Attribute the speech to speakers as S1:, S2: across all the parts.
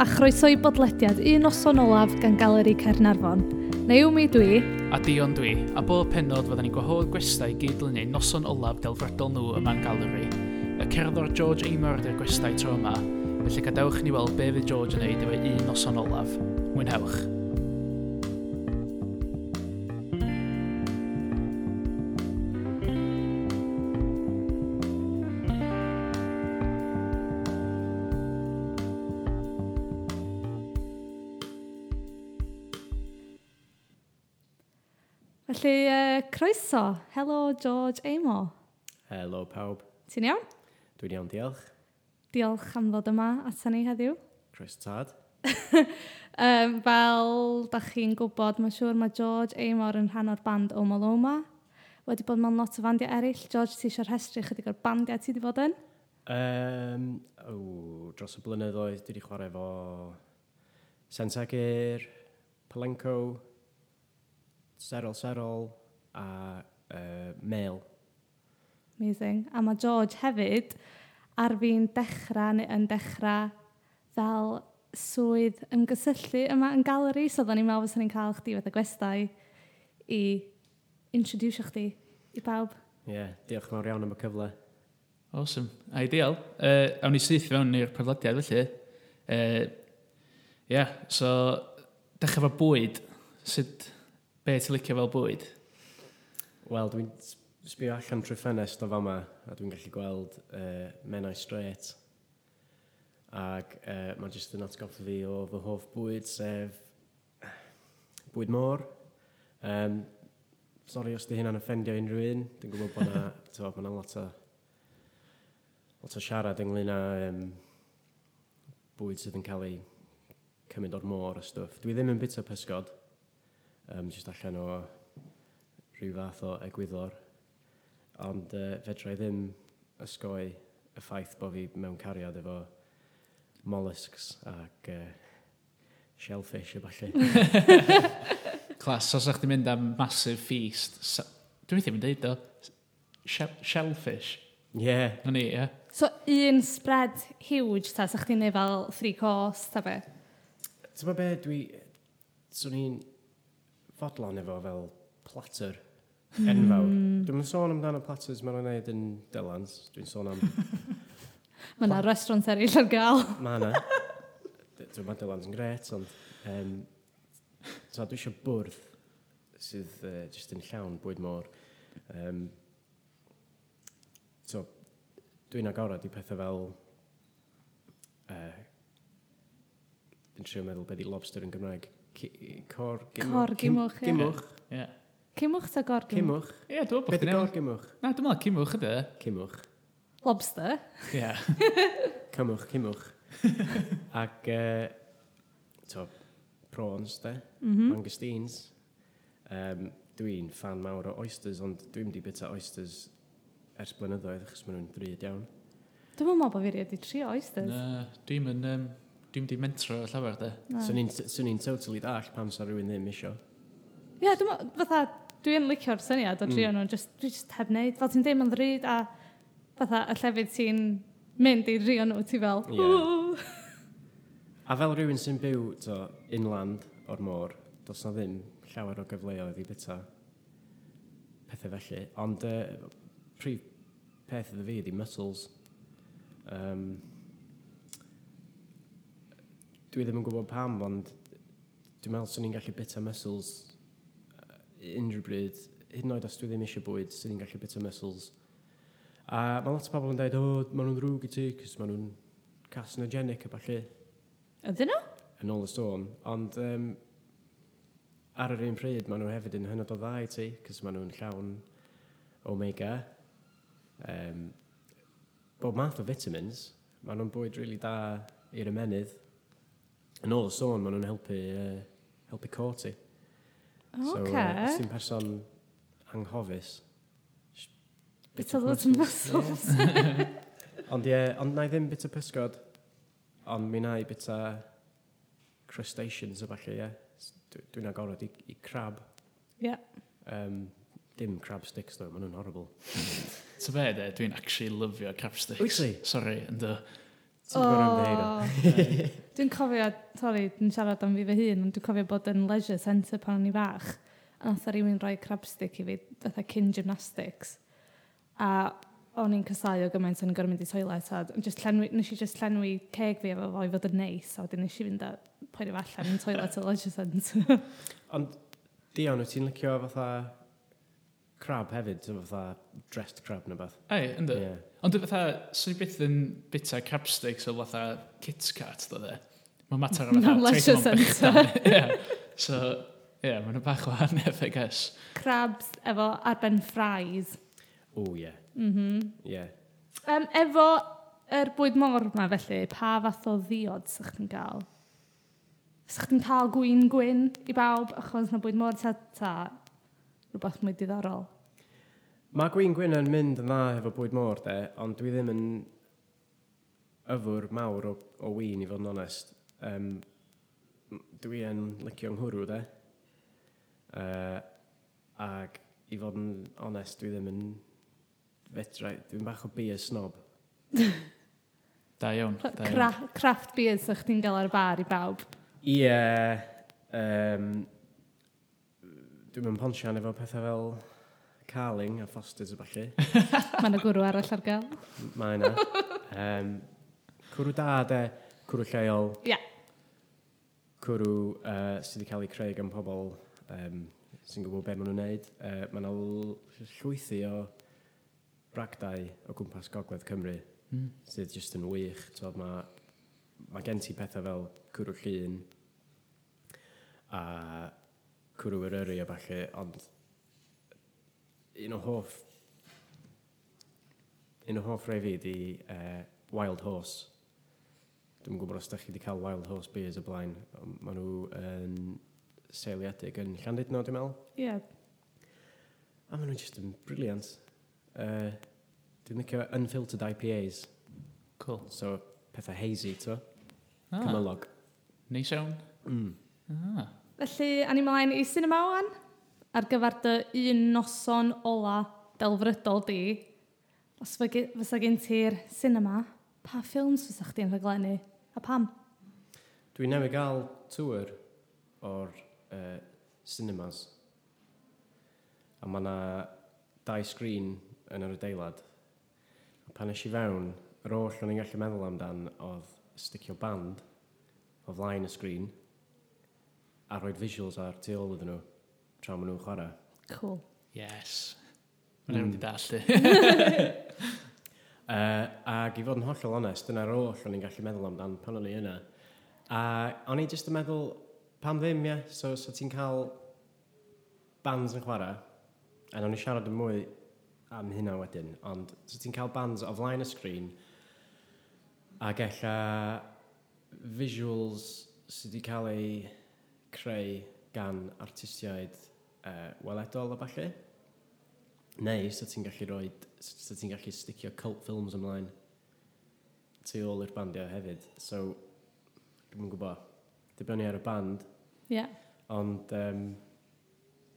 S1: a chroeso i bodlediad un noson olaf gan Galeri Caernarfon. Naomi dwi,
S2: A Dion dwi, a bob penod fydda ni'n gwahodd gwestai gydlynu noson olaf delfrydol nhw yma'n galeri. Y cerddor George Amor ydy'r gwestai tro yma, felly gadewch i ni weld be fydd George yn neud efo un noson olaf. Mwynhewch.
S1: felly uh, croeso. Helo George Amo.
S3: Helo pawb,
S1: Ti'n iawn?
S3: dwi'n iawn diolch.
S1: Diolch am ddod yma atan ni heddiw.
S3: Croes tad.
S1: Um, fel da chi'n gwybod, mae'n siŵr mae George Amor yn rhan o'r band Omaloma. Wedi bod mewn lot o fandiau eraill. George, ti eisiau rhestru chydig o'r bandiau ti wedi bod yn?
S3: Um, o, dros y blynyddoedd, dwi wedi chwarae efo Sensegir, Palenco, Serol Serol a uh, Mail.
S1: Amazing. A mae George hefyd ar fi'n dechrau neu yn dechrau fel swydd ymgysylltu yma yn galeri. So oedden ni'n meddwl fysa ni'n cael chdi fod y gwestai i introduce chdi i bawb.
S3: Ie, yeah, diolch mawr iawn am y cyfle.
S2: Awesome. Ideal. Uh, awn ni syth fewn i'r podlediad felly. Ie, uh, yeah, so dechrau fo bwyd. Sut, be ti'n licio fel bwyd?
S3: Wel, dwi'n s- sbio allan trwy ffenest o fama a dwi'n gallu gweld uh, menau straight. Ac uh, mae'n jyst yn atgoffa fi o fy hoff bwyd, sef bwyd môr. Um, sori os di hynna'n offendio unrhyw un. Dwi'n gwybod bod na, t'bo, ma' 'na lot o, lot o siarad ynglyn â um, bwyd sydd yn cael ei cymryd o'r môr a stwff. Dwi ddim yn bita pysgod, um, jyst allan o rhyw fath o egwyddor. Ond uh, fedra i ddim ysgoi y ffaith bod fi mewn cariad efo mollusks ac uh, shellfish a falle.
S2: Clas, os ydych chi'n mynd am massive feast, sa- dwi'n ddim yn deud o, Shell, shellfish.
S3: yeah,
S2: Na ni, ie. Yeah.
S1: So un spread huge ta, sa chdi'n neud fel three course ta be?
S3: Ti'n be dwi... Swn i'n fodlon efo fel platter enfawr. Mm. Dwi'n sôn amdano platters maen nhw'n neud yn Dylans. Dwi'n sôn am
S1: Mae yna restaurant eraill ar gael.
S3: ma' na. Dwi'n meddwl Dylans yn gret, ond... Um, so dwi eisiau bwrdd sydd uh, jyst yn llawn bwyd môr. Um, so, dwi'n agorad i pethau fel... Uh, dwi'n trio meddwl beth i lobster yn Gymraeg. Ci- Cor...
S1: Cor gimwch, ie.
S3: Gimwch.
S2: Ie,
S1: Cymwch ta gorgym?
S3: Cimwch.
S2: yeah, dwi'n
S3: Beth
S2: bod
S3: i
S2: chi'n
S3: gael
S2: iawn.
S3: gymwch?
S2: Na, dwi'n meddwl e. cymwch ydy.
S3: Cimwch.
S1: Lobster.
S2: Ie.
S3: Cymwch, cimwch. Ac, uh, to, prawns, de? Mm -hmm. Mangostines. Um, dwi'n fan mawr o oysters, ond dwi'n di bita oysters ers blynyddoedd, achos maen nhw'n drud iawn.
S1: Dwi'n meddwl bod fi rhaid i trio oysters.
S2: Na, dwi'n mynd, um, dwi'n di mentro llawer de.
S1: Na.
S3: Swn i'n- Swn i'n totally dall pam sa rhywun ddim isio.
S1: Ie, dwi'n meddwl- fatha, dwi'n licio'r syniad o
S3: Mm.
S1: drio nhw, jyst- dwi just heb wneud. Fel ti'n deud, mae'n ddrud a fatha, y llefydd ti'n mynd i drio nhw, ti fel,
S3: Ie.
S1: "Ww."
S3: A fel rhywun sy'n byw, to, inland o'r môr, does na ddim llawer o gyfleoedd i bita pethau felly. Ond uh, prif peth iddo fi ydi mussels. Um, dwi ddim yn gwybod pam, ond dwi'n meddwl swn i'n gallu bita mussels yy, unrhyw bryd. Hyd yn oed os dwi ddim eisiau bwyd, swn i'n gallu bita mussels. A mae lot o bobl yn dweud, o, oh, maen nhw'n ddrwg i ti, cys maen nhw'n carcinogenic a falle
S1: Ydyn nhw?
S3: yn ôl y storm, ond um, ar yr un pryd maen nhw hefyd yn hynod o dda i ti, cos maen nhw'n llawn omega, um, bob math o vitamins, maen nhw'n bwyd rili really da i'r ymenydd. Yn ôl y storm, maen nhw'n helpu, uh, helpu co ti. So,
S1: Oce.
S3: uh, os ti'n person anghofus, sh-
S1: Bit
S3: bit
S1: o
S3: of
S1: lot
S3: mussels.
S1: muscles.
S3: Ond ie, ond na i ddim bita pysgod, ond mi na i bita crustaceans a falle, ie. S- dwi- Dwi'n agorod i, i crab.
S1: Ie.
S3: Um, dim crab sticks, though, maen nhw'n horrible.
S2: Ta be, de, dwi'n actually e? lyfio crab sticks.
S3: Wyt ti?
S2: Sorry, ynddo.
S3: Ti'n gwybod am
S1: Oh.
S3: ddeud o?
S2: Ie.
S1: Dwi'n cofio, sori, dwi'n siarad am fi fy hun, ond dwi'n cofio bod yn leisure centre pan o'n i fach. A nath o rywun rhoi crab stick i fi, fatha cyn gymnastics. A o'n i'n casau o gymaint o'n i'n gorau mynd i toilet. A d- jyst llenwi, nes i just llenwi ceg fi efo fo i fod yn neis. A wedyn nes i fynd a poen allan yn toilet y leisure centre.
S3: Dion, wyt ti'n licio fatha crab hefyd, so fatha dressed crab neu beth?
S2: Ei, ynddo.
S3: Ie.
S2: Ond dwi fatha, swn i byth yn bita capsticks o fatha Kit Kat, dwi dde. Mae'n mater am
S1: Ma'n leisure centre.
S2: Ie. So, ie, yeah, mae'n bach o hanef, I guess.
S1: Crabs efo arben fries.
S3: O, ie.
S1: Mhm.
S3: Ie.
S1: Um, efo yr bwyd môr yma felly, pa fath o ddiod sa'ch chi'n gael? Sa'ch chi'n cael gwyn gwyn i bawb achos na bwyd môr ta ta rhywbeth mwy diddorol?
S3: Mae Gwyn Gwyn yn mynd yn dda efo bwyd môr, de, ond dwi ddim yn yfwr mawr o, o win, i fod yn onest. Um, dwi yn licio nghwrw, de. Uh, ac i fod yn onest, dwi ddim yn fetra, dwi'n bach o beer snob.
S2: Da iawn.
S1: Cra-
S2: Da iawn.
S1: cra- Craft beers sa'ch chi'n gael ar bar i bawb?
S3: Ie, yeah, um, dwi'n mynd ponsian efo pethau fel Carling a Foster's a falle.
S1: Mae yna gwrw arall ar gael.
S3: Mae yna. um, cwrw da, de. Cwrw lleol.
S1: Ie.
S3: Cwrw uh, sydd wedi cael ei creu gan pobl um, sy'n gwybod beth maen nhw'n gwneud. Uh, mae yna l- llwythi o bragdau o gwmpas Gogledd Cymru
S2: Mm.
S3: sydd jyst yn wych. So, mae ma gen ti pethau fel cwrw llun a cwrw Eryri a falle, ond un o hoff un o hoff rai fi di uh, Wild Horse. Dwi'n gwybod os da chi wedi cael Wild Horse beers o blaen. ond Maen nhw yn seiliedig yn Llandudno, dwi'n meddwl.
S1: Ie.
S3: A maen nhw jyst yn briliant. Uh, dwi'n licio unfiltered IPAs.
S2: Cool.
S3: So, pethau hazy, to.
S2: Ah,
S3: Ah. Cymalog.
S2: neis iawn.
S3: Mm.
S2: Ah.
S1: Felly, a'n i mlaen i cinema wan ar gyfer dy un noson ola delfrydol di. Os fy- fysa gen ti'r cinema, pa ffilms fysa chdi'n rhaglennu? A pam?
S3: Dwi newydd gael tŵr o'r uh, cinemas. A mae yna dau sgrin yn yr adeilad. A pan eisiau fewn, yr oll o'n i'n gallu meddwl amdan oedd sticio band o flaen y sgrin a rhoi visuals ar tu ôl iddyn nhw tra maen nhw'n chwarae.
S1: Cool.
S2: Yes. Mae'n mm.
S3: Mm.
S2: wedi dallu.
S3: Uh, ac i fod yn hollol onest, dyna'r oll o'n i'n gallu meddwl amdan pan o'n i yna. A o'n i jyst yn meddwl, pam ddim, ie? So, so ti'n cael bands yn chwarae, a o'n i siarad yn mwy am hynna wedyn, ond so ti'n cael bands o flaen y sgrin, ac ella visuals sydd wedi cael eu creu gan artistiaid uh, weledol a falle. Neu, so ti'n gallu roi, so ti'n gallu sticio cult films ymlaen tu ôl i'r bandiau hefyd. So, dwi'n yn gwybod, dibynnu ar y band,
S1: Ie.
S3: ond um,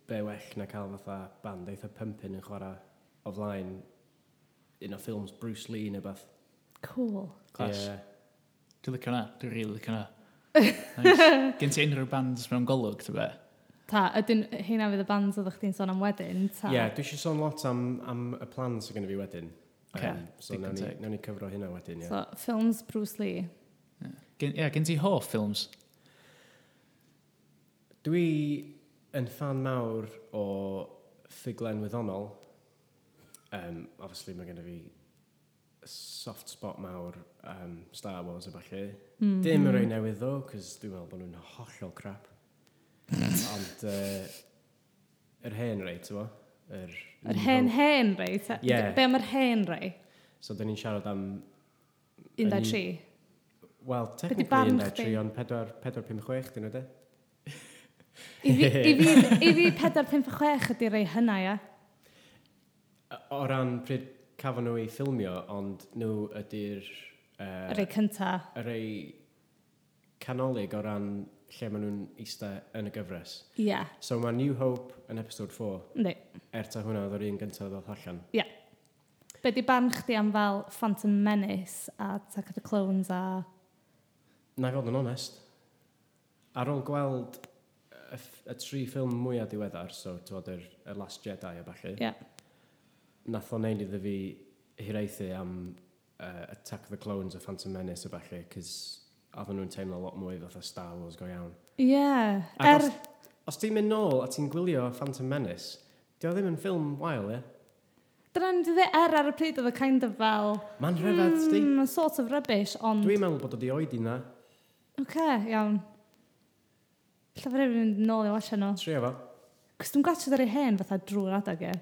S3: be well na cael fatha band eitha pumpin yn chwarae o flaen un o ffilms Bruce Lee neu beth.
S1: Cool.
S2: Clas.
S3: Ie.
S2: Dwi'n licio hwnna. Dwi'n rili licio hwnna. Nice. Gen ti unrhyw bands mewn golwg, ti'n be?
S1: Ta, ydyn hynna fydd y bands oeddech chdi'n sôn am wedyn, ta?
S3: Ie, dwi eisiau sôn lot am, am y plan sy'n gynnu fi wedyn.
S2: Ocê,
S3: so,
S2: digon
S3: nawn ni,
S2: teg.
S3: nawn ni cyfro hynna wedyn, ie.
S1: So, films Bruce Lee.
S2: Gen, yeah, gen ti hoff ffilms?
S3: Dwi yn fan mawr o ffuglen wyddonol. Um, obviously, mae gen i fi soft spot mawr um, Star Wars a falle. Mm.
S1: Mm.
S3: Dim yr ein newydd ddo, cos dwi'n meddwl bod nhw'n hollol crap. Ond uh, yr hen rei, ti'n bo? Yr,
S1: Yr hen hen rei, ta?
S3: Ie.
S1: Be am yr hen rei?
S3: So, dyn ni'n siarad am...
S1: Un, dau,
S3: Yn-
S1: tri.
S3: Wel,
S1: barn
S3: technically, yna
S1: chdi?
S3: tri, ond 4, 4, 5, 6, dyn nhw de?
S1: I fi, i fi, i fi 4, 5, 6 ydy rei hynna, ia?
S3: O ran pryd cafon nhw i ffilmio, ond nhw ydy'r...
S1: Y
S3: Uh,
S1: rei cynta.
S3: y rei canolig o ran lle maen nhw'n eista yn y gyfres.
S1: Ie.
S3: So mae New Hope yn episode 4,
S1: Ynddi.
S3: er ta hwnna oedd yr un gyntaf ddod allan.
S1: Ie. Be di barn chdi am fel Phantom Menace a Attack of the Clones a...
S3: Na i fod yn onest. Ar ôl gweld y, ff- y tri ffilm mwyaf diweddar, so tywod yr, y Last Jedi a falle,
S1: Ie.
S3: nath o neud iddo fi hiraethu am uh, Attack of the Clones a Phantom Menace a falle, cys oedden nhw'n teimlo lot mwy fatha Star Wars go iawn.
S1: Ie.
S3: Ac
S1: Er...
S3: os- Os ti'n mynd nôl a ti'n gwylio Phantom Menace, di o ddim yn ffilm wael, ie?
S1: Dyna ni di dde er ar y pryd oedd y kind of fel...
S3: Ma'n rhyfedd, mm. di?
S1: Mm, sort of rubbish, ond... Oce,
S3: Dwi'n meddwl bod o di oed i na.
S1: okay, iawn. Llyfr efo'n mynd nôl i wasio nhw.
S3: Trio fo.
S1: Cos dwi'n gwachod ar ei hen fatha drwy'r adag e.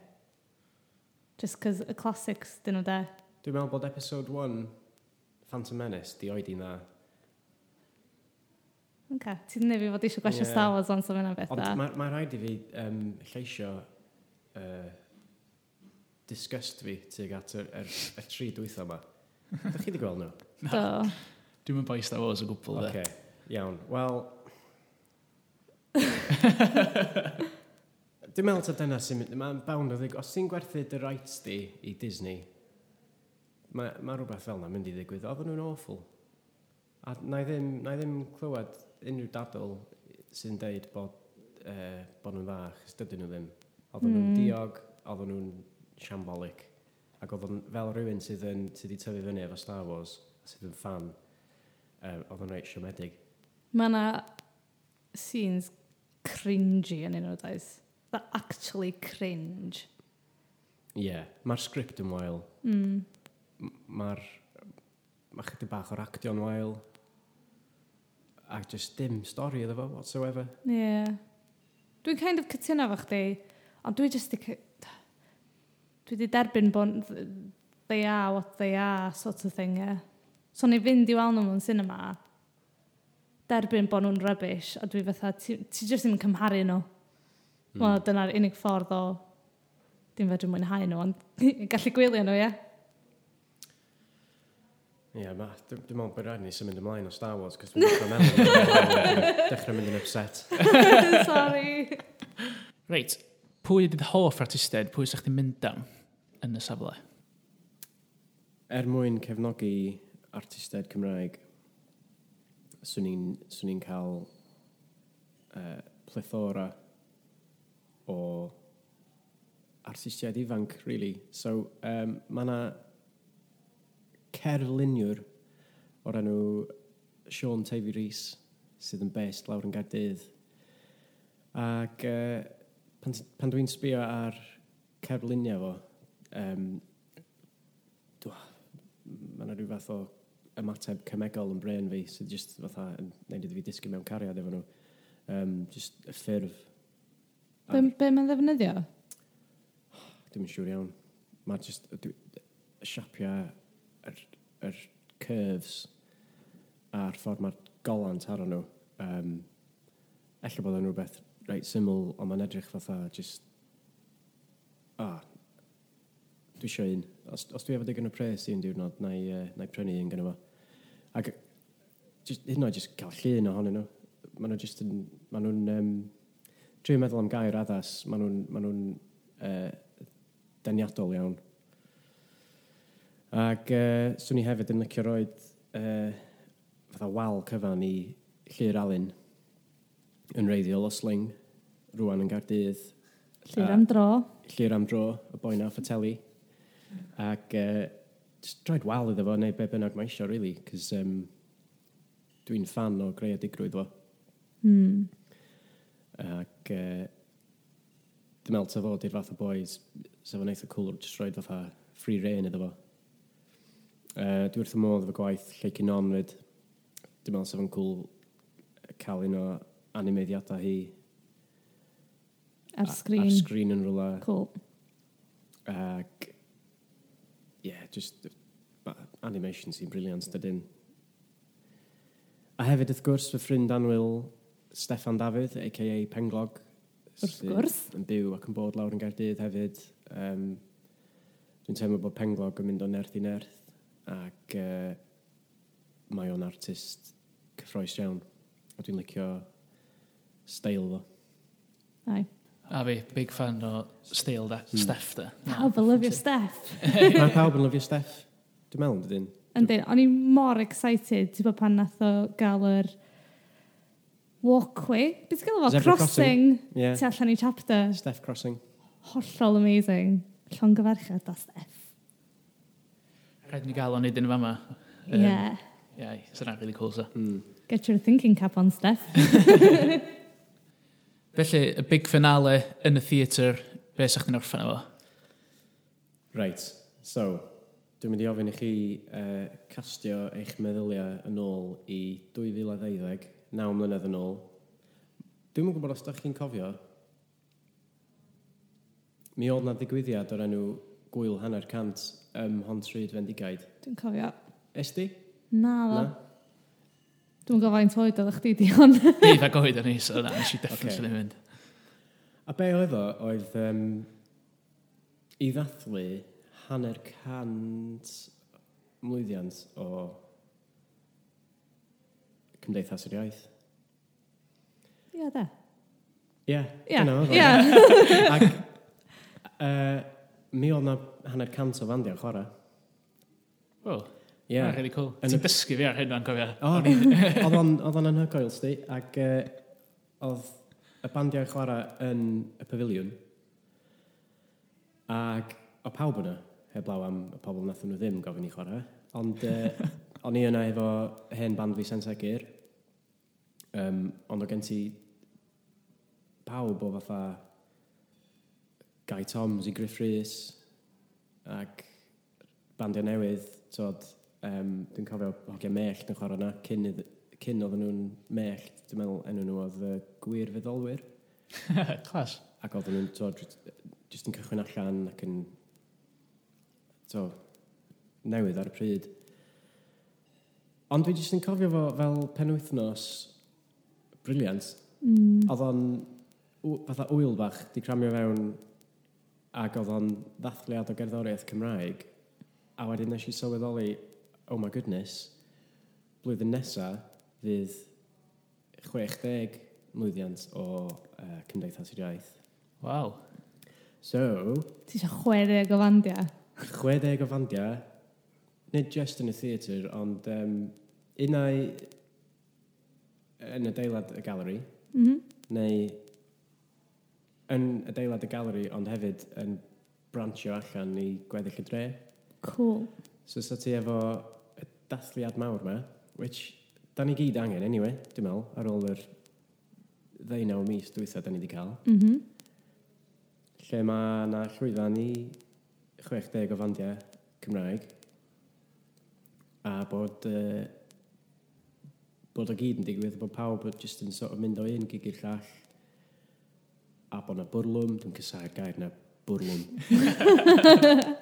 S1: Just cos y classics dyn nhw de.
S3: Dwi'n meddwl bod episode 1, Phantom Menace, di oed i na.
S1: Okay. Ti'n neu fi fod eisiau gwasio
S3: Ie.
S1: yeah. Star Wars ond so fyna beth
S3: Ond
S1: da.
S3: mae ma rhaid i fi um, lleisio uh, disgust fi tuag at y, y, y tri dwytho yma. Ydych chi wedi gweld nhw?
S1: Do.
S2: Dwi'n mynd boi Star Wars o gwbl.
S3: Oce,
S2: Okay.
S3: iawn. Wel... Dwi'n meddwl ta dyna sy'n mynd... Mae'n bawn o ddig... Os ti'n gwerthu dy rights di i Disney, mae ma rhywbeth fel yna'n mynd i ddigwydd. Oedden nhw'n awful. A na i ddim, na i ddim clywed unrhyw dadl sy'n deud bod, uh, bod nhw'n dda, chys dydyn nhw ddim. Oedden nhw'n
S1: Mm.
S3: diog, oedden nhw'n siambolic. Ac oedd o'n fel rhywun sydd yn, sydd wedi tyfu fyny efo Star Wars, a sydd yn fan, uh, oedd o'n reit siomedig.
S1: Mae yna scenes cringy yn un o'r dais. That actually cringe.
S3: Ie, yeah. mae'r sgript yn wael,
S1: Mm.
S3: m- mae'r... Mae chydig bach o'r actio'n wael, a just dim stori iddo fo, whatsoever.
S1: Yeah. Dwi'n kind of cytuno fo chdi, ond dwi just... di cy- Dwi wedi derbyn bod they are what they are sort of thing, yeah. So ni fynd i weld nhw mewn cinema, derbyn bod nhw'n rubbish, a dwi fatha, ti, ti just ddim yn cymharu nhw.
S3: Hmm.
S1: Mm. Wel, dyna'r unig ffordd o dim fedrwn mwynhau nhw, ond gallu gwylio nhw, ie? Yeah?
S3: Ie, yeah, dwi'n dwi meddwl bod rhaid ni symud ymlaen o Star Wars, cos dwi'n dechrau meddwl, dechrau mynd yn upset.
S1: Sorry.
S2: Reit, pwy ydy'n hoff artistiaid, pwy sa'ch chi'n mynd am yn y safle?
S3: Er mwyn cefnogi artistiaid Cymraeg, swn i'n swn i'n cael uh, plethora o artistiaid ifanc, really. So, um, mae yna cerluniwr o'r enw Sean Tavy Rhys, sydd yn based lawr yn Gaerdydd. Ac uh, pan, ti- pan dwi'n sbio ar cerluniau fo, um, mae yna rhyw fath o ymateb cemegol yn bren fi sydd jyst fatha yn neud iddi fi disgu mewn cariad efo nhw. Um, just y ffurf. A
S1: Be, be mae'n ddefnyddio?
S3: Dwi'm yn siŵr iawn. Mae just y dwi- y siapiau, yr, yr curves a'r ffordd mae'r golant ar nhw. Um, Ella bod yn rhywbeth reit syml, ond mae'n edrych fatha just... Ah, dwi eisiau un. Os, os dwi efo digon o pres i un diwrnod, na i, uh, na i prynu un gyda fo. Ac just, hyd yn oed just cael llun ohonyn nhw. Maen nhw just yn... Maen nhw'n... Um, Dwi'n meddwl am gair addas, maen nhw'n... Maen nhw'n uh, deniadol iawn. Ac uh, swn i hefyd yn licio roed uh, fatha wal cyfan i Llyr Alun yn reiddiol o sling, rwan yn Gardydd,
S1: Llyr
S3: A-
S1: am dro.
S3: Llyr am dro, y boi na ffateli. Ac uh, just droed wal iddo fo, neu be bynnag mae eisiau, really, cos um, dwi'n fan o greadigrwydd fo.
S1: Hmm.
S3: Ac uh, dwi'n meddwl ta fo, di'r fath o boys, sef o'n eitha cool, jyst roed fatha free rein iddo fo. Uh, dwi wrth y modd efo gwaith Lleicyn Onwyd. Dwi'n meddwl sef o'n cool cael un o animeiddiadau hi
S1: Ar
S3: a-
S1: sgrin.
S3: ar sgrin yn rhywle.
S1: Cool.
S3: Ac, ie, yeah, just ma- animation sy'n briliant, dydyn. A hefyd, wrth gwrs, fy ffrind anwyl Steffan Dafydd, a.k.a. Penglog.
S1: Wrth
S3: sydd
S1: gwrs.
S3: Yn byw ac yn bod lawr yn Gaerdydd hefyd. Um, Dwi'n teimlo bod Penglog yn mynd o nerth i nerth ac uh, mae o'n artist cyffroes iawn. A dwi'n licio steil fo.
S1: Ai.
S2: A fi, big fan o Steil da,
S3: Hmm.
S2: Steff da.
S1: Pawb yn lyfio Steff.
S3: Mae pawb yn lyfio Steff. Dwi'n meddwl, dydyn.
S1: Ynddi, o'n i mor excited, ti'n bod pan nath o gael yr walkway. Beth gael o fo?
S3: Zebra
S1: Crossing.
S3: Ie.
S1: Ti allan i chapter.
S3: Steff Crossing.
S1: Hollol amazing. Llongyfarchiad o Steff.
S2: Rhaid ni gael o'n neud yn fama.
S1: Ie. Yeah.
S2: Ie, sy'n rhaid really cool, sa.
S3: Mm.
S1: Get your thinking cap on, Steff.
S2: Felly, y big finale yn y theatr, be sa'ch chi'n orffen efo?
S3: Right, so, dwi'n mynd i ofyn i chi uh, castio eich meddyliau yn ôl i 2012, 9 mlynedd yn ôl. Dwi'n yn gwybod os da chi'n cofio, mi oedd na ddigwyddiad o'r enw gwyl hanner cant ym Hontryd Fendigaid.
S1: Dwi'n cofio.
S3: Esti?
S1: Na,
S3: Na?
S1: fo. Dwi'n gofio faint oed oeddech chdi di hon.
S2: Ni dda goed o'n ni, so na, nes i definitely mynd.
S3: A be oedd o, oedd um, i ddathlu hanner cant mlwyddiant o Cymdeithas yr Iaith.
S1: Ie, da.
S3: Ie,
S1: Ie,
S3: dyna oedd o.
S1: ie.
S3: Ac uh, mi oedd na hanner cant o fandiau chwarae.
S2: Wow,
S3: Ie.
S2: yeah. really cool.
S3: Yn
S2: Ti'n
S3: y-
S2: dysgu fi ar hyn o'n cofio.
S3: O, oedd o'n oedd o'n anhygoel, sti, ac uh, oedd y bandiau yn chwarae yn y pavilion, ac o pawb yna, heblaw am y pobl nathon nhw ddim gofyn i chwarae, ond uh, o'n i yna efo hen band fi Sensa Geir, um, ond o gen ti pawb o fatha Guy Toms i Griff Rhys, ac bandiau newydd, tod, um, dwi'n cofio hogiau mellt yn chwarae yna, cyn, idd- cyn oedden nhw'n mellt, dwi'n meddwl enw nhw oedd uh, gwir feddolwyr,
S2: Clas.
S3: ac oedden nhw'n tod, jyst yn cychwyn allan ac yn to, newydd ar y pryd. Ond dwi jyst yn cofio fo fel penwythnos briliant,
S1: Mm.
S3: Oedd o'n w- fatha wyl bach di cramio fewn ac oedd o'n ddathliad o gerddoriaeth Cymraeg a wedyn nes i sylweddoli oh my goodness blwyddyn nesa fydd 60 mlwyddiant o uh, Cymdeithas yr Iaith.
S2: Waw.
S3: So,
S1: Ti eisiau chwereg o fandia?
S3: 60 o fandiau, nid just yn y theatr, ond um, unau yn adeilad y galeri,
S1: Mhm.
S3: neu yn adeilad y galeri, ond hefyd yn branchio allan i gweddill y dre.
S1: Cool.
S3: So, sa ti efo y dathliad mawr ma, which da ni gyd angen, anyway, dwi'n meddwl, ar ôl yr ddeunaw mis dwytha da ni wedi cael,
S1: Mhm.
S3: lle mae na llwyfan i 60 o fandiau Cymraeg a bod uh, bod o gyd yn digwydd bod pawb just yn sort of mynd o un gig i'r llall a bod na bwrlwm dwi'n cysau'r gair na bwrlwm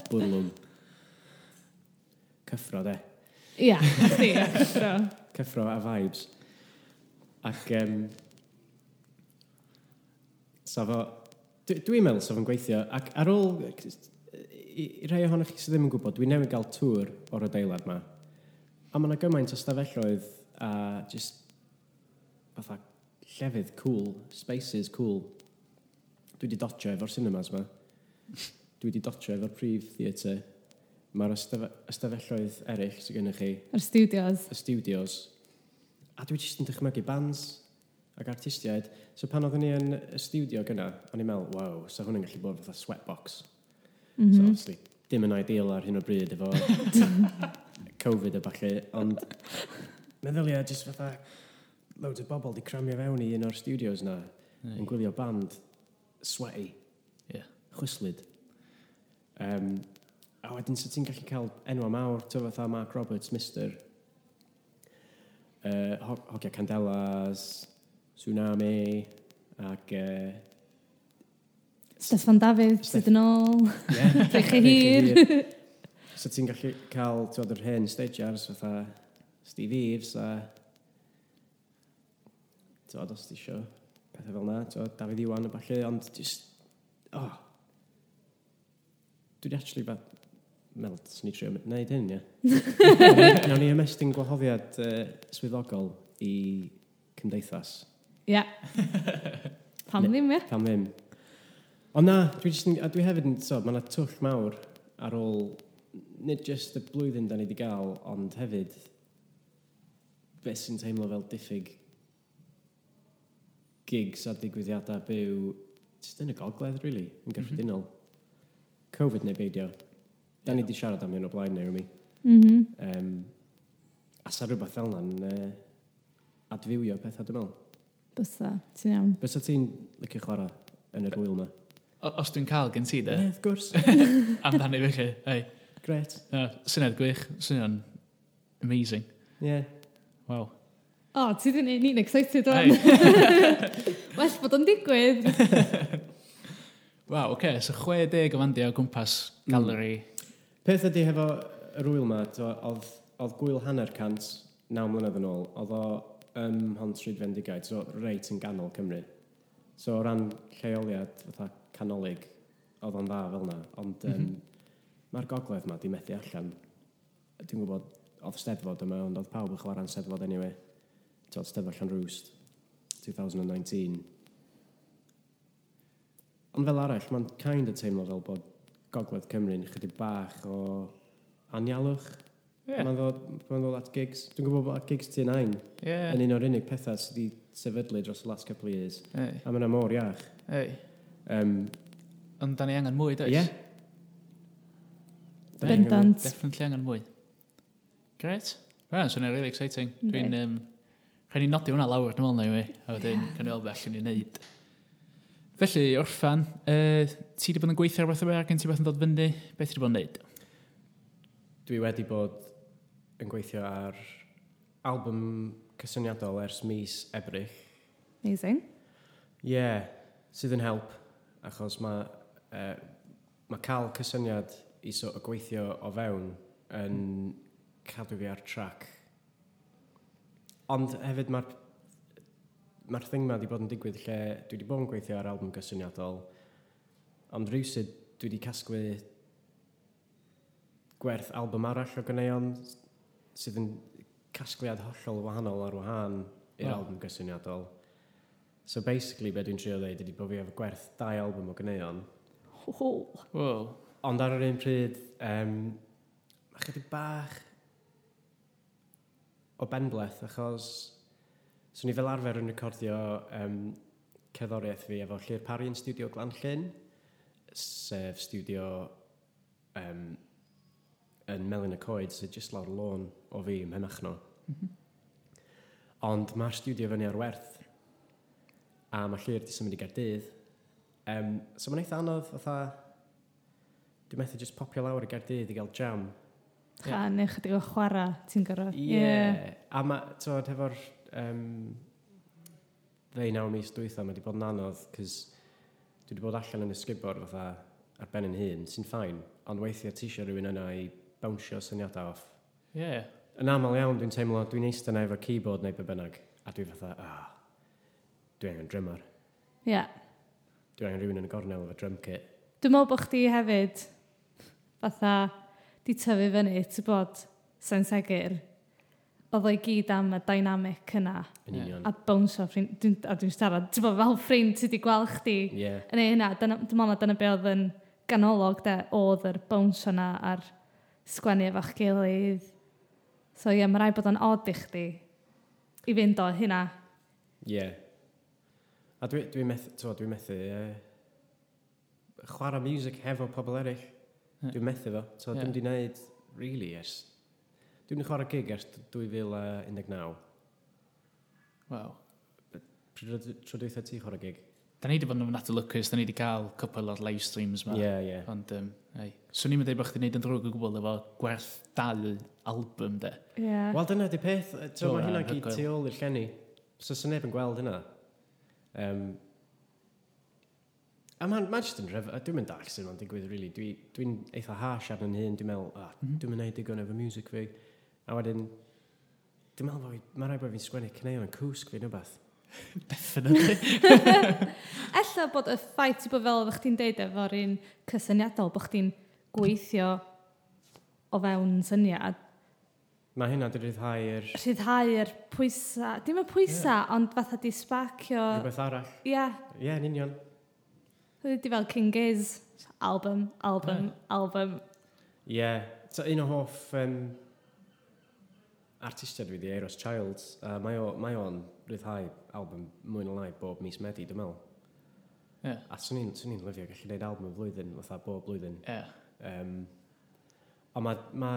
S3: bwrlwm e. cyffro de
S1: Ia, chdi, ia, cyffro.
S3: cyffro a vibes. Ac, um, so fo, dwi- dwi'n meddwl so fo'n gweithio, ac ar ôl, i, i rhai ohonoch chi sydd ddim yn gwybod, dwi newydd gael tŵr o'r adeilad ma. A mae yna gymaint o stafelloedd a just, fatha, llefydd cool, spaces cool. Dwi wedi dotio efo'r cinemas ma. Dwi wedi dotio efo'r prif theatre. Mae'r ystafe- ystafelloedd eraill sydd gennych chi
S1: Yr studios.
S3: y studios, a dwi jyst yn dychmygu bands ac artistiaid. So pan oeddwn ni yn y studio gyna, o'n i'n meddwl, waw, so hwn yn gallu bod fatha sweatbox. Mm -hmm. So,
S1: Mhm.
S3: obviously, dim yn ideal ar hyn o bryd efo Covid a falle, ond meddylia jyst fatha loads o bobl di cramio fewn i un o'r studios na, yn gwylio band sweaty,
S2: Ie.
S3: chwyslyd. Um, a wedyn, so ti'n gallu cael enwa mawr, to fatha Mark Roberts, Mister, uh, ho Hogia Candelas, Tsunami, ac... Uh,
S1: Steffan Dafydd,
S3: Steff-
S1: sydd yn ôl.
S3: yeah,
S1: Rhych chi hir.
S3: so ti'n gallu cael, ti'n yr hen stagiars, fatha Steve Eves, a... Ti'n os ti isio pethau fel na, ti'n Dafydd Iwan a falle, ond just... Oh. Dwi di actually bad meddwl, swn i trio wneud hyn, ie. Nawn ni- Nawn ni ymestyn gwahoddiad uh, swyddogol i cymdeithas.
S1: Ia. Pam
S3: Ne-
S1: ddim, ia?
S3: Pam ddim. Ond na, dwi, jyst yn, a dwi hefyd yn, so, mae yna twll mawr ar ôl, nid just y blwyddyn da ni wedi gael, ond hefyd, beth sy'n teimlo fel diffyg gigs a digwyddiadau byw, jyst yn y gogledd, really, yn gyffredinol. Covid neu beidio. Da ni wedi siarad am hyn o blaen, neu mi.
S1: Mm -hmm.
S3: Um, a sa rhywbeth fel na'n uh, adfywio pethau, dwi'n meddwl.
S1: Bysa, ti'n iawn.
S3: Bys o ti'n licio chwarae yn yr wyl yma?
S2: O- Os dwi'n cael gen ti, de,
S3: Ie, of gwrs.
S2: amdani fi chi. Ei,
S3: Gret.
S2: na, syniad gwych, syniad amazing.
S3: Ie.
S2: Wow.
S1: O, ti di neud ni'n excited o'n.
S2: Ei,
S1: Well bod o'n digwydd.
S2: wow, oce, okay, so 60 o fandiau o gwmpas
S3: Mm.
S2: galeri.
S3: Peth ydy hefo yr wyl yma, t'wo, oedd, oedd gwyl hanner cant, naw mlynedd yn ôl, oedd o ym Hontryd Fendigaid, so reit yn ganol Cymru. So o ran lleoliad fatha canolig, oedd o'n dda fel yna, ond um,
S2: Mhm.
S3: mae'r gogledd yma di methu allan. Dwi'n gwybod, oedd steddfod yma, ond oedd pawb yn chwarae'n steddfod anyway. T'wo, steddfod Llan Rwst, 2019. Ond fel arall, mae'n kind of teimlo fel bod gogledd Cymru'n chydig bach o anialwch.
S2: Ie,
S3: Mae'n ddod, ma ddod at gigs. Dwi'n gwybod bod at gigs tu'n ein. Yn
S2: ie.
S3: un o'r unig pethau sydd wedi sefydlu dros y last couple of years.
S2: Ei,
S3: A mae'n mor iach.
S2: ei.
S3: Um,
S2: Ond da ni angen mwy, does?
S3: Ie.
S2: Da ni
S1: Bendant.
S2: Definitely angen mwy. Great. Wel, so really exciting. Dwi'n...
S1: Yndi.
S2: Um, Rhaid ni nodi hwnna lawr, dwi'n meddwl na i mi. A wedyn, can i weld beth ni'n neud. Felly, orffan, uh, ti wedi bod yn gweithio ar beth yma, gen ti beth yn dod fyny? Beth ti wedi bod yn neud?
S3: dwi wedi bod yn gweithio ar album cysyniadol ers mis Ebrych.
S1: Amazing.
S3: Ie, yeah, sydd yn help, achos mae uh, ma cael cysyniad i so, o gweithio o fewn yn cadw fi ar trac. Ond hefyd mae'r ma thing ma wedi bod yn digwydd lle dwi wedi bod yn gweithio ar album gysyniadol, ond rhywsyd dwi wedi casglu gwerth album arall o ganeuon sydd yn casgliad hollol wahanol ar wahân i'r
S2: Wow.
S3: album gysyniadol. So basically, be dwi'n trio ddeud ydy bod fi efo gwerth dau album o ganeuon,
S1: Oh,
S2: Wow.
S3: ond ar yr un pryd, um, mae chydig bach o benbleth, achos swn i fel arfer yn recordio um, cerddoriaeth fi efo Llyr Pari'n studio Glan Llyn, sef studio um, yn Melyn y Coed, sydd jyst lawr y lôn o fi ym Henachno.
S2: Mhm.
S3: Ond mae'r studio fyny ar werth, a mae Llyr di symud i Gardydd. Um, so mae'n eitha anodd, fatha, Dwi'n methu just popio lawr i Gardydd i gael jam.
S2: Ie.
S1: Ha, neu chydig o chwarae, ti'n gorau.
S3: Yeah. A mae, tywed, hefo'r... Um, ddeu naw mis dwytha, mae wedi bod yn anodd, cys dwi wedi bod allan yn y sgubor fatha ar ben yn hun, sy'n ffain, ond weithiau ti eisiau rhywun yna i bawnsio syniadau off.
S2: Yeah.
S3: Yn aml iawn, dwi'n teimlo, dwi'n eistedd yna efo keyboard neu be bynnag, a dwi fatha, ah, dwi angen drymar.
S1: Ie.
S3: Dwi angen rhywun yn y gornel efo drum kit.
S1: Dwi'n meddwl bod chdi hefyd, fatha, di tyfu fyny, ti bod, sa'n segir, oedd o'i gyd am y dynamic yna,
S3: Yn
S2: Ie.
S3: union.
S1: a bwnsio ffrind, dwi'n dwi siarad, ti'n bod fel ffrind ti di gweld chdi,
S3: Ie. Yeah.
S1: yn ei hynna, dyna- dwi'n meddwl na dyna be oedd yn ganolog, de, oedd yr bwnsio yna ar sgwennu efo'ch gilydd. So ie, mae rai bod o'n od i chdi i fynd o hynna.
S3: Ie. Yeah. A dwi, dwi methu, to, dwi methu, uh, chwarae music hefo pobl eraill.
S2: Ie.
S3: Yeah. Dwi'n methu fo. So yeah.
S2: Ie.
S3: dwi'n di wneud, really, ers... Dwi'n di chwarae gig ers 2019.
S2: Wow.
S3: Pryd oedd- Tro dweitha ti chwarae gig?
S2: Da ni wedi bod yn ofnadwy lwcus, da ni wedi cael cwpl o'r live streams
S3: Ie,
S2: ma.
S3: ie.
S2: Ond, um, ei. So ni'n mynd bod chdi'n neud yn ddrwg o gwbl efo gwerth dau album, de.
S1: Ie.
S3: Wel, dyna di peth. Yy,
S2: So,
S3: T'o, mae hynna
S2: yy,
S3: gyd
S2: hygoel.
S3: tu ôl i'r llenni. So, sy'n neb yn gweld hynna. Um, a mae'n ma jyst yn rhyf... a Dwi'n mynd all sy'n ma'n digwydd, really. Dwi- Dwi'n dwi eitha harsh ar yn hyn. Dwi'n meddwl, ah,
S2: Mhm.
S3: dwi'n mynd neud digon efo music fi. A wedyn, dwi'n meddwl, bod fi- mae'n rhaid bod fi'n sgwennu cyneuon yn cwsg fi, neu beth.
S2: Definitely.
S1: Ella bod y ffaith ti bod fel oeddech chdi'n deud efo'r un cysyniadol, bod chdi'n gweithio o fewn syniad,
S3: Mae hynna di rhyddhau i'r
S1: rhyddhau'r pwysau, dim y pwysau, yeah. ond fatha di sbacio,
S3: rhywbeth arall.
S1: ie,
S3: Ie, yn union.
S1: Ydy fel King Giz. Album, album, album.
S3: Ie. So un o hoff um, artistiad fi di Eros Childs. Uh, mae o- mae o'n rhyddhau album mwy na lai bob mis Medi, dwi'n meddwl.
S2: Ie.
S3: A swn i'n swn i'n lyfio gallu gwneud album y flwyddyn, fatha bob blwyddyn.
S2: Ie.
S3: Um, ond mae ma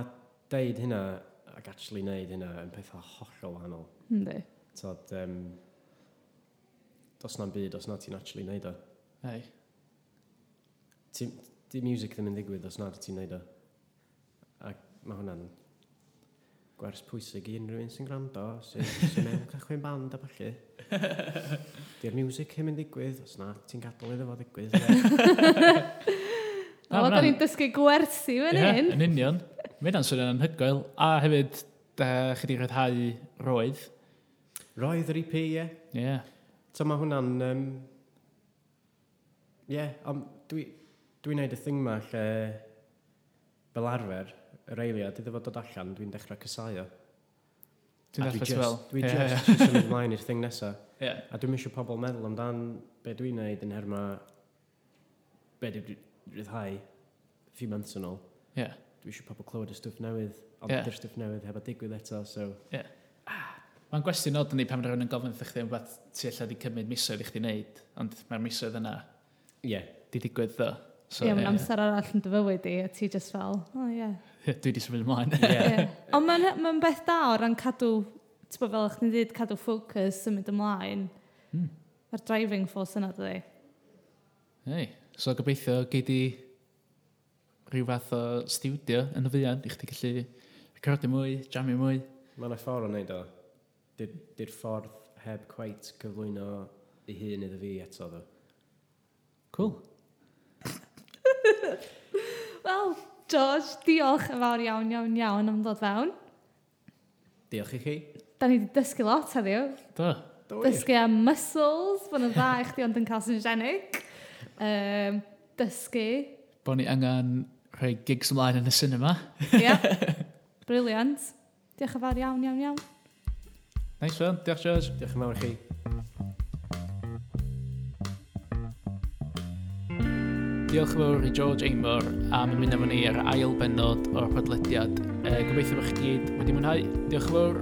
S3: deud hynna ac actually wneud hynna yn pethau hollol wahanol.
S1: Ynddi.
S3: Tod, um, dos na'n byd, os na ti'n actually wneud o.
S2: Ei.
S3: Ti, di music ddim yn digwydd os nad ti'n neud o. Ac mae hwnna'n gwers pwysig i unrhyw un sy'n gwrando, sy'n sy mewn cychwyn band a falle. Di'r music hyn yn digwydd, os na ti'n gadael iddo fo ddigwydd.
S2: Na,
S1: O,
S2: ma'
S1: da ni'n
S2: hwnna'n-
S1: dysgu gwersi fan
S2: Ie,
S1: hyn.
S2: Yn union. Mae hynna'n swnio'n anhygoel. A hefyd, uh, chi di rhyddhau roedd.
S3: Roedd yr EP, ie.
S2: Ie. Yeah.
S3: So mae hwnna'n... Um, ie, ond dwi'n dwi neud y thing ma lle fel arfer, yr eiliad, iddo fod dod allan, dwi'n dechrau cysau o.
S2: Dwi'n
S3: A
S2: dall
S3: dwi
S2: beth fel.
S3: just- Dwi
S2: Ie,
S3: just isio symud ymlaen i'r thing nesaf.
S2: ie, ie.
S3: A dwi'm eisiau pobl meddwl amdan be dwi'n neud yn herma be dwi'n rhyddhau a few months yn ôl.
S2: Ie.
S3: Dwi eisiau pobl clywed y stwff newydd, ond
S2: Ie.
S3: yeah. dy'r stwff newydd heb a digwydd eto, so...
S2: Mae'n gwestiwn od yn ei pan mae rhywun yn gofyn wrthych chi am beth ti allai wedi cymryd misoedd i chdi wneud, ond mae'r misoedd yna
S3: Ie. Yeah.
S2: di digwydd ddo. So,
S1: Ie, mae'n
S2: ie,
S1: amser arall yn dy fywyd i, a ti just fel, o ie.
S2: ie. Dwi wedi symud ymlaen.
S3: Yeah.
S1: Ie. Ond mae'n ma beth da o ran cadw, ti'n bod fel eich ni'n dweud, cadw ffocws, symud ymlaen.
S2: Hmm.
S1: Mae'r driving force yna, dydi.
S2: Ei, so gobeithio gei di rhyw fath o studio yn y fuan i chdi gallu recordio mwy, jamu mwy.
S3: Mae yna ffordd o wneud o. Di'r di ffordd heb cweit cyflwyno ei hun iddo fi eto, ddo.
S2: Cool.
S1: Wel, George, diolch yn fawr iawn, iawn, iawn am ddod fewn.
S3: Diolch i chi.
S1: Da ni wedi dysgu lot heddiw.
S2: Do.
S1: Dysgu am muscles, bod yn dda i chdi ond yn cael syngenic. Um, dysgu.
S2: Bo ni angen rhoi gigs ymlaen yn y cinema.
S1: Ie. Briliant. Diolch yn fawr iawn, iawn, iawn.
S2: Nice one. Diolch, George.
S3: Diolch yn fawr i chi.
S2: Diolch yn fawr i George Aymor am ymuno efo ni ar ail bennod o'r podlediad. E, gobeithio bod chi gyd wedi mwynhau. Diolch yn fawr.